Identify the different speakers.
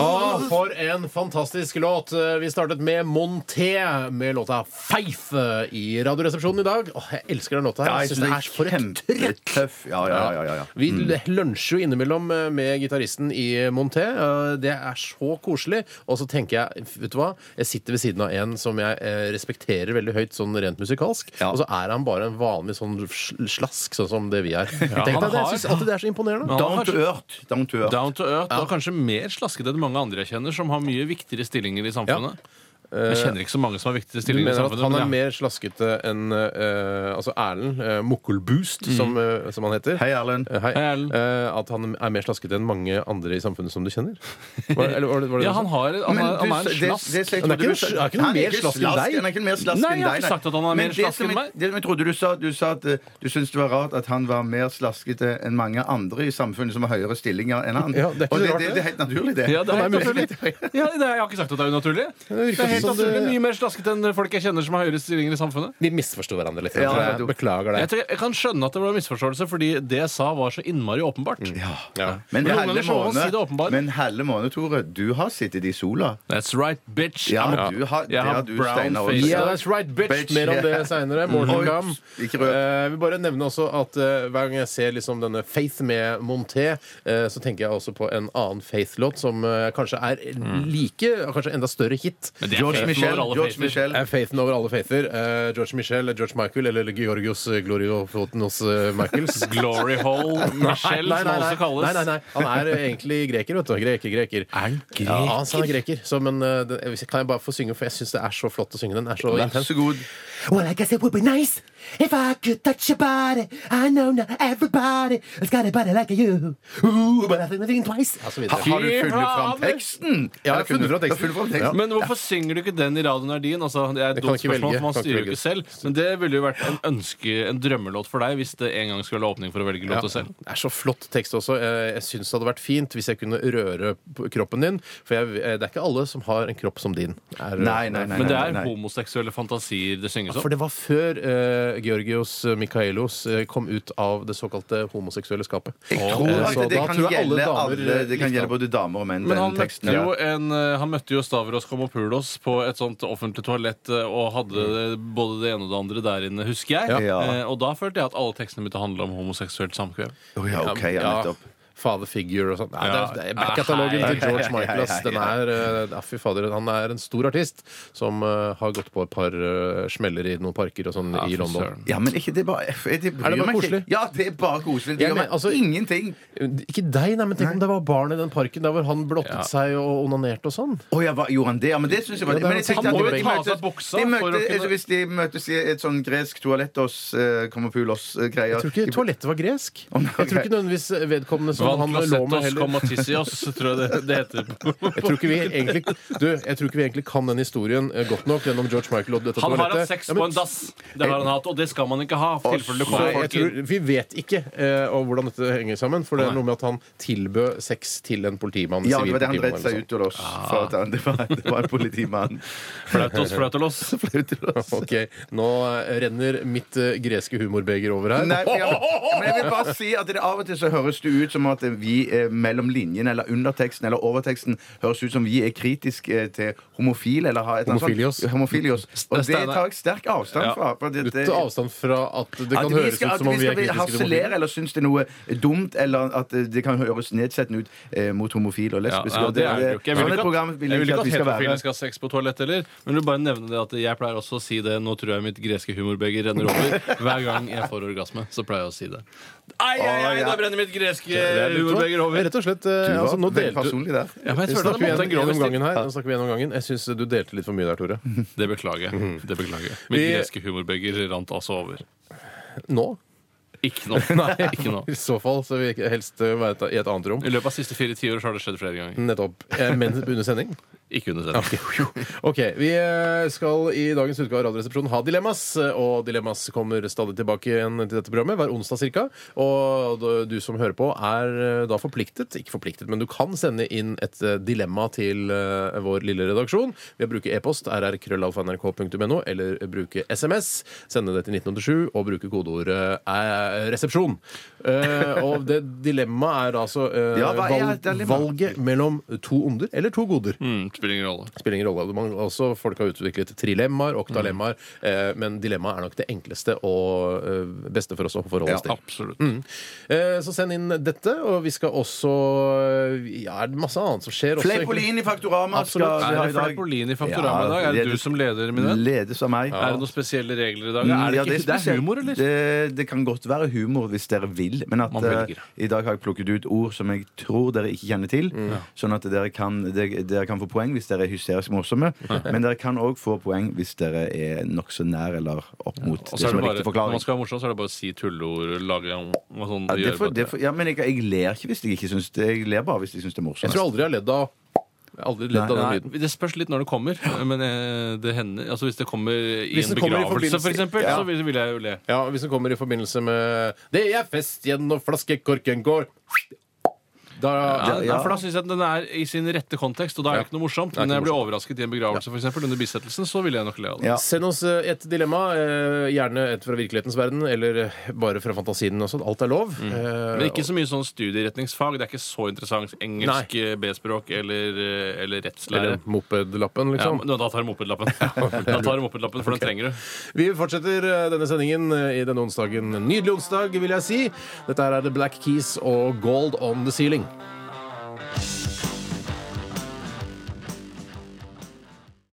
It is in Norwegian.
Speaker 1: Ah, for en fantastisk låt. Vi startet med Monté med låta Feif i Radioresepsjonen i dag. Åh, jeg elsker den låta. her. Jeg synes det er for et trøkk.
Speaker 2: kjempetøff. Ja, ja, ja, ja, ja.
Speaker 1: Vi lunsjer jo innimellom eh, med gitaristen i Monté. Eh, Det er så koselig. Og så tenker jeg vet du hva, jeg sitter ved siden av en som jeg eh, respekterer veldig høyt sånn rent musikalsk,
Speaker 2: Ja.
Speaker 1: og så er han bare en vanlig sånn sl- slask, sånn som det vi er. Tenk
Speaker 3: han
Speaker 1: deg det,
Speaker 3: har-
Speaker 1: jeg syns alltid det er så imponerende.
Speaker 3: Ja.
Speaker 2: Down to earth. Down to earth.
Speaker 3: Down to earth. Og kanskje mer slaskete enn mange andre jeg kjenner, som har mye viktigere stillinger i samfunnet. Jeg kjenner ikke så mange som har viktigere
Speaker 1: Eh, Du
Speaker 3: stillinger i
Speaker 1: mener at
Speaker 3: samfunnet.
Speaker 1: han
Speaker 3: men altså,
Speaker 1: er
Speaker 3: ja.
Speaker 1: mer slaskete enn eh, altså Erlend uh, Mokkelboost, som, eh, som han heter?
Speaker 2: Hei, Erlend.
Speaker 1: Eh, Hei.
Speaker 3: Mm. Hei, Erlend.
Speaker 1: Eh, at han er mer slaskete enn mange andre i samfunnet som du kjenner? Var, eller, var det, var det
Speaker 3: Ja,
Speaker 1: du sa?
Speaker 3: han, har, han, er, han er en slask.
Speaker 1: Han er ikke noe- han er ikke noe mer slask enn deg.
Speaker 2: Han er ikke mer slask
Speaker 3: Nei,
Speaker 2: enn
Speaker 3: jeg har
Speaker 2: deg,
Speaker 3: ikke sagt at han er
Speaker 2: Men
Speaker 3: mer
Speaker 2: det
Speaker 3: slask
Speaker 2: som
Speaker 3: enn
Speaker 2: jeg- Det som jeg trodde du sa, du sa at eh, du syntes det var rart at han var mer slaskete enn mange andre i samfunnet som har høyere stillinger enn han.
Speaker 1: Ja, det er ikke
Speaker 2: Og
Speaker 1: så
Speaker 2: det,
Speaker 1: rart,
Speaker 2: det,
Speaker 1: det.
Speaker 2: det er helt naturlig, det.
Speaker 3: Ja, det er helt
Speaker 2: Nei, men-
Speaker 3: naturlig. Ja, det er, jeg har ikke sagt at det er unaturlig.
Speaker 1: virker
Speaker 3: Det er helt
Speaker 1: som det-
Speaker 3: naturlig. Mye mer slaskete enn folk jeg kjenner som har høyere stillinger i samfunnet.
Speaker 1: Vi misforsto hverandre litt.
Speaker 2: Ja,
Speaker 1: tror jeg.
Speaker 2: det er dumt.
Speaker 1: Beklager
Speaker 3: Jeg,
Speaker 1: det.
Speaker 3: tror, jeg kan skjønne at det var en misforståelse, fordi det jeg sa, var så innmari åpenbart.
Speaker 1: Mm. Ja.
Speaker 2: Men
Speaker 3: Men noen
Speaker 2: halve
Speaker 3: ganger så må man si det
Speaker 2: måned,
Speaker 3: åpenbart.
Speaker 2: men halve måned, Tore, du har sittet i sola.
Speaker 3: That's right, bitch.
Speaker 2: Ja,
Speaker 3: I'm a-
Speaker 2: du har- det
Speaker 3: jeg har
Speaker 2: har du,
Speaker 3: brown
Speaker 2: Steinar,
Speaker 3: face.
Speaker 2: også.
Speaker 1: Yeah, that's right, bitch.
Speaker 2: Bitch.
Speaker 1: Mer om det seinere. Morten
Speaker 3: Mm.
Speaker 2: Oi,
Speaker 1: Gam.
Speaker 2: ikke rød.
Speaker 1: Eh, jeg vil bare nevne også at eh, hver gang jeg ser liksom denne Faith med Monté, eh, så tenker jeg også på en annen Faith-låt som eh, kanskje er like, kanskje enda større hit.
Speaker 3: Mm. Men det er
Speaker 2: George
Speaker 3: faith
Speaker 2: Michel.
Speaker 3: over alle
Speaker 2: George
Speaker 3: faither.
Speaker 2: Michel.
Speaker 1: er faithen over alle faither. Eh, George Michel, George Michael eller Georgios Gloriofotenos eh, Michaels.
Speaker 3: Glory hole Michelle, som han også kalles.
Speaker 1: Nei, nei, nei. Han er eh, egentlig greker, vet du. Greker, greker.
Speaker 3: Er han greker?
Speaker 1: Ja, altså, han er greker. Så, men eh, det, hvis jeg- kan jeg bare få synge, for jeg syns det er så flott å synge den. Den er så
Speaker 2: Vær
Speaker 1: intens.
Speaker 2: så god.
Speaker 4: Well, I guess it would be nice if I could touch your body. I know not everybody has got a body like you. Ooh, but I think I think twice.
Speaker 1: Ja, så videre.
Speaker 2: Har, har du
Speaker 3: Fy
Speaker 2: funnet fram
Speaker 3: faen.
Speaker 2: teksten?
Speaker 1: jeg har
Speaker 2: Eller kunne-
Speaker 1: funnet fram teksten.
Speaker 2: Du har funnet fram teksten.
Speaker 3: Men hvorfor synger du ikke den i radioen er din? Altså, det er et
Speaker 1: Det kan
Speaker 3: dumt
Speaker 1: ikke
Speaker 3: spørsmål,
Speaker 1: velge,
Speaker 3: for
Speaker 1: kan
Speaker 3: man
Speaker 1: ikke
Speaker 3: styrer jo
Speaker 1: velge.
Speaker 3: ikke selv. Men det ville jo vært en ønske, en drømmelåt for deg hvis det en gang skulle være åpning for å velge
Speaker 1: Ja,
Speaker 3: låta selv.
Speaker 1: Det er så flott tekst også. Eh, Jeg syns det hadde vært fint hvis jeg kunne røre p- kroppen din. For jeg, eh, det er ikke alle som har en kropp som din. Er, eh,
Speaker 2: Nei, nei, nei.
Speaker 3: Men det er
Speaker 2: nei.
Speaker 3: homoseksuelle fantasier det synges
Speaker 1: For
Speaker 3: om.
Speaker 1: det var før eh, Georgios Michaelos eh, kom ut av det såkalte homoseksuelle skapet.
Speaker 2: Jeg tror
Speaker 1: Eh,
Speaker 2: at
Speaker 1: så
Speaker 2: det, det
Speaker 1: da
Speaker 2: kan
Speaker 1: tror jeg alle
Speaker 2: gjelde
Speaker 1: damer liksom.
Speaker 2: alle. Det
Speaker 1: likte
Speaker 2: kan gjelde
Speaker 1: han.
Speaker 2: både damer og menn,
Speaker 3: Men han
Speaker 2: den teksten.
Speaker 3: møtte,
Speaker 2: Ja.
Speaker 3: jo en, eh, han møtte jo Stavros Komopoulos på et sånt offentlig toalett eh, og hadde
Speaker 1: Mm.
Speaker 3: både det ene og det andre der inne, husker jeg.
Speaker 2: Ja.
Speaker 3: Eh, Og da følte jeg at alle tekstene mine handla om homoseksuelt samkvem.
Speaker 2: Å ja, ok, ja, nettopp.
Speaker 1: Father figure og sånn. Nei, det
Speaker 3: Ja.
Speaker 1: er- det er Back-katalogen til George Michael. ass. Den
Speaker 2: Hei, hei,
Speaker 1: er, eh, ja, fy fader, han er en stor artist som eh, har gått på et par eh, smeller i noen parker og sånn i
Speaker 3: fy
Speaker 1: London.
Speaker 3: søren.
Speaker 2: Ja, men ikke det bare jeg- jeg bryr
Speaker 1: Er det bare
Speaker 2: meg ikke.
Speaker 1: koselig?
Speaker 2: Ja, det er bare koselig. Det
Speaker 1: Ja,
Speaker 2: gjør
Speaker 1: men
Speaker 2: meg
Speaker 1: altså-
Speaker 2: ingenting.
Speaker 1: Ikke deg, nei, men tenk om det var barn i den parken der hvor han blottet
Speaker 3: Ja.
Speaker 1: seg og onanerte og sånn.
Speaker 2: Å ja, hva, gjorde han det? Ja, men det synes jeg var
Speaker 1: Ja, det er
Speaker 2: men
Speaker 1: han
Speaker 2: jeg
Speaker 1: som
Speaker 2: tenkte at
Speaker 1: må
Speaker 2: de
Speaker 3: ta av
Speaker 2: møtes-
Speaker 3: seg buksa
Speaker 2: de
Speaker 3: for
Speaker 2: møtes-
Speaker 3: å kunne-
Speaker 2: altså, Hvis de møtes i et sånn gresk toalett hos uh, Komopulos-greier
Speaker 1: Jeg tror ikke toalettet var gresk.
Speaker 2: Å, nei,
Speaker 1: Jeg tror ikke
Speaker 2: ok.
Speaker 1: nødvendigvis vedkommende som han lå med
Speaker 3: Vanklasettos
Speaker 1: heller.
Speaker 3: komatissios, tror jeg det, det heter.
Speaker 1: Jeg tror, ikke vi egentlig, du, jeg tror ikke vi egentlig kan den historien eh, godt nok gjennom George Michael og dette
Speaker 3: Han har hatt
Speaker 1: toalettet.
Speaker 3: sex
Speaker 1: Ja, men-
Speaker 3: på en dass. Det har han hatt, og det skal man ikke ha. for tilfelle det
Speaker 1: Så
Speaker 3: kommer
Speaker 1: jeg
Speaker 3: folk inn.
Speaker 1: tror, vi vet ikke eh, om hvordan dette henger sammen, for det er
Speaker 3: Nei.
Speaker 1: noe med at han tilbød sex til en politimann.
Speaker 2: Ja, det
Speaker 1: sivil
Speaker 2: var det han
Speaker 1: politimann
Speaker 2: dreit
Speaker 1: eller
Speaker 2: seg ut av oss for. At han, det, var, det var en politimann.
Speaker 3: Flaut oss, flaut oss.
Speaker 2: Flaut til oss.
Speaker 1: sånt. Ok, Nå eh, renner mitt eh, greske humorbeger over her.
Speaker 2: Nei, men, jeg, men jeg vil bare si at det Av og til så høres det ut som at vi eh, mellom linjene eller underteksten eller overteksten høres ut som vi er kritiske eh, til homofile eller har et eller annet sånt- Homofilios. Og det
Speaker 3: Steinar.
Speaker 2: tar jeg sterk avstand
Speaker 3: Ja.
Speaker 2: fra. for det-
Speaker 1: Du tar avstand fra at det kan
Speaker 2: at vi
Speaker 1: høres
Speaker 2: skal,
Speaker 1: ut
Speaker 2: at
Speaker 1: som om
Speaker 2: vi
Speaker 1: vi er
Speaker 2: skal bli-
Speaker 1: kritiske til
Speaker 2: harselere
Speaker 1: homofile.
Speaker 2: eller synes det er noe dumt, eller at eh, det kan høres nedsettende ut eh, mot homofile og
Speaker 3: Ja,
Speaker 2: lesbiske.
Speaker 3: ja,
Speaker 2: og
Speaker 3: det er det jo ikke. Jeg vil
Speaker 2: sånne
Speaker 3: ikke
Speaker 2: program
Speaker 3: at,
Speaker 2: vil
Speaker 3: jeg
Speaker 2: jeg
Speaker 3: vil
Speaker 2: ikke
Speaker 3: ikke
Speaker 2: at vi
Speaker 3: at
Speaker 2: skal være.
Speaker 3: heterofile skal ha sex på toalett heller. Men jeg vil bare nevne det at jeg pleier også å si det. Nå tror jeg mitt greske humorbeger renner over. Hver gang jeg får orgasme, så pleier jeg å si det. Ai, ai, ai, da brenner mitt greske
Speaker 1: Eh,
Speaker 3: humorbeger over.
Speaker 1: Rett og slett eh,
Speaker 2: Du var
Speaker 1: altså, Nå
Speaker 2: veldig
Speaker 1: delte
Speaker 2: personlig der.
Speaker 3: Ja, men jeg føler at
Speaker 1: Snakker vi
Speaker 3: det
Speaker 1: igjen
Speaker 3: måtte en
Speaker 1: gjennom
Speaker 3: grovis til.
Speaker 1: gangen her? Nå snakker vi gjennom gangen. Jeg syns du delte litt for mye der, Tore.
Speaker 3: Det beklager jeg. Det beklager jeg. Mitt
Speaker 1: Vi-
Speaker 3: greske humorbeger rant altså over.
Speaker 1: Nå?
Speaker 3: Ikke nå. Ikke nå.
Speaker 1: I så fall så vil jeg helst eh, være i et annet rom.
Speaker 3: I løpet av de siste fire tiår så har det skjedd flere ganger.
Speaker 1: Nettopp. Eh, Men under sending?
Speaker 3: Ikke under sending.
Speaker 1: OK. Vi eh, skal i dagens utgave av Radioresepsjonen ha dilemmas. eh, Og dilemmas kommer stadig tilbake igjen til dette programmet, hver onsdag ca. Og du som hører på, er eh, da forpliktet Ikke forpliktet, men du kan sende inn et eh, dilemma til eh, vår lille redaksjon ved å bruke e-post rrkrøllalfa.nrk.no eller bruke SMS. Sende det til 1987 og bruke kodeordet eh, 'resepsjon'. Eh, og det dilemmaet er altså eh,
Speaker 2: Ja, hva er
Speaker 1: valg,
Speaker 2: dilemma?
Speaker 1: valget mellom to onder eller to goder
Speaker 3: Mm, spiller ingen rolle.
Speaker 1: spiller ingen rolle. Man, også, folk har utviklet trilemmaer, oktalemmaer, eh, men dilemmaet er nok det enkleste og eh, beste for oss å forholde oss til.
Speaker 3: Absolutt.
Speaker 1: Mm. Eh, så send inn dette, og vi skal også eh, Ja, det er masse annet som skjer også. egentlig.
Speaker 2: Fleipolini Faktorama skal
Speaker 1: Absolutt.
Speaker 2: vi
Speaker 3: Er
Speaker 2: ha
Speaker 3: det
Speaker 2: i dag.
Speaker 3: Fleipolini Faktorama i dag? Er
Speaker 2: Ja,
Speaker 3: det du som leder, min venn?
Speaker 2: Ledes av meg.
Speaker 3: Er det noen spesielle regler i dag? Er det
Speaker 2: Ja,
Speaker 3: ikke Mm, det er
Speaker 2: spesielt.
Speaker 3: humor, eller?
Speaker 2: Det, det kan godt være humor hvis dere vil, men at
Speaker 3: Man velger.
Speaker 2: eh, i dag har jeg plukket ut ord som jeg tror dere ikke kjenner til.
Speaker 3: Mm.
Speaker 2: Sånn at dere kan, dere, dere kan få poeng hvis dere er hysterisk morsomme, men dere kan òg få poeng hvis dere er nokså nær eller opp mot
Speaker 3: Og
Speaker 2: det
Speaker 3: så er
Speaker 2: som
Speaker 3: det
Speaker 2: er
Speaker 3: bare,
Speaker 2: riktig
Speaker 3: når man
Speaker 2: forklaring.
Speaker 3: skal være morsom, så er det bare å si tulleord, lage om og sånn.
Speaker 2: Ja,
Speaker 3: gjøre
Speaker 2: det får-
Speaker 3: bare
Speaker 2: det får- ja, men jeg, jeg ler ikke hvis jeg ikke syns det. Jeg ler bare hvis jeg syns det er
Speaker 1: Jeg
Speaker 2: morsomt.
Speaker 1: tror aldri jeg har ledd av jeg har aldri ledd av den lyden.
Speaker 3: Nei, det spørs litt når det kommer. Men eh, det hender altså Hvis det kommer i
Speaker 1: Hvis
Speaker 3: en
Speaker 1: det kommer i
Speaker 3: begravelse,
Speaker 1: forbindelse-
Speaker 3: for eksempel,
Speaker 1: Ja.
Speaker 3: så vil vil jeg jo le.
Speaker 1: Ja, Hvis den kommer i forbindelse med 'Det er fest igjen når flaskekorken går' da,
Speaker 3: Ja,
Speaker 2: ja.
Speaker 3: For da syns jeg at den er i sin rette kontekst, og da er det ikke noe morsomt. Men når jeg blir overrasket i en begravelse, for eksempel, under bisettelsen, så vil jeg nok le av det.
Speaker 2: Ja.
Speaker 1: Send oss eh, et dilemma, eh, gjerne et fra virkelighetens verden, eller eh, bare fra fantasien også. Alt er lov. Eh,
Speaker 3: Mm. Men ikke så mye sånn studieretningsfag. Det er ikke så interessant. Engelsk, eh, B-språk eller, eh, eller rettslære.
Speaker 1: Eller mopedlappen,
Speaker 3: Ja,
Speaker 1: liksom.
Speaker 3: men da tar jeg mopedlappen. Da tar jeg mopedlappen, For den trenger du.
Speaker 1: Vi fortsetter eh, denne sendingen eh, i denne onsdagen. Nydelig onsdag, vil jeg si. Dette her er The Black Keys og Gold On The Ceiling.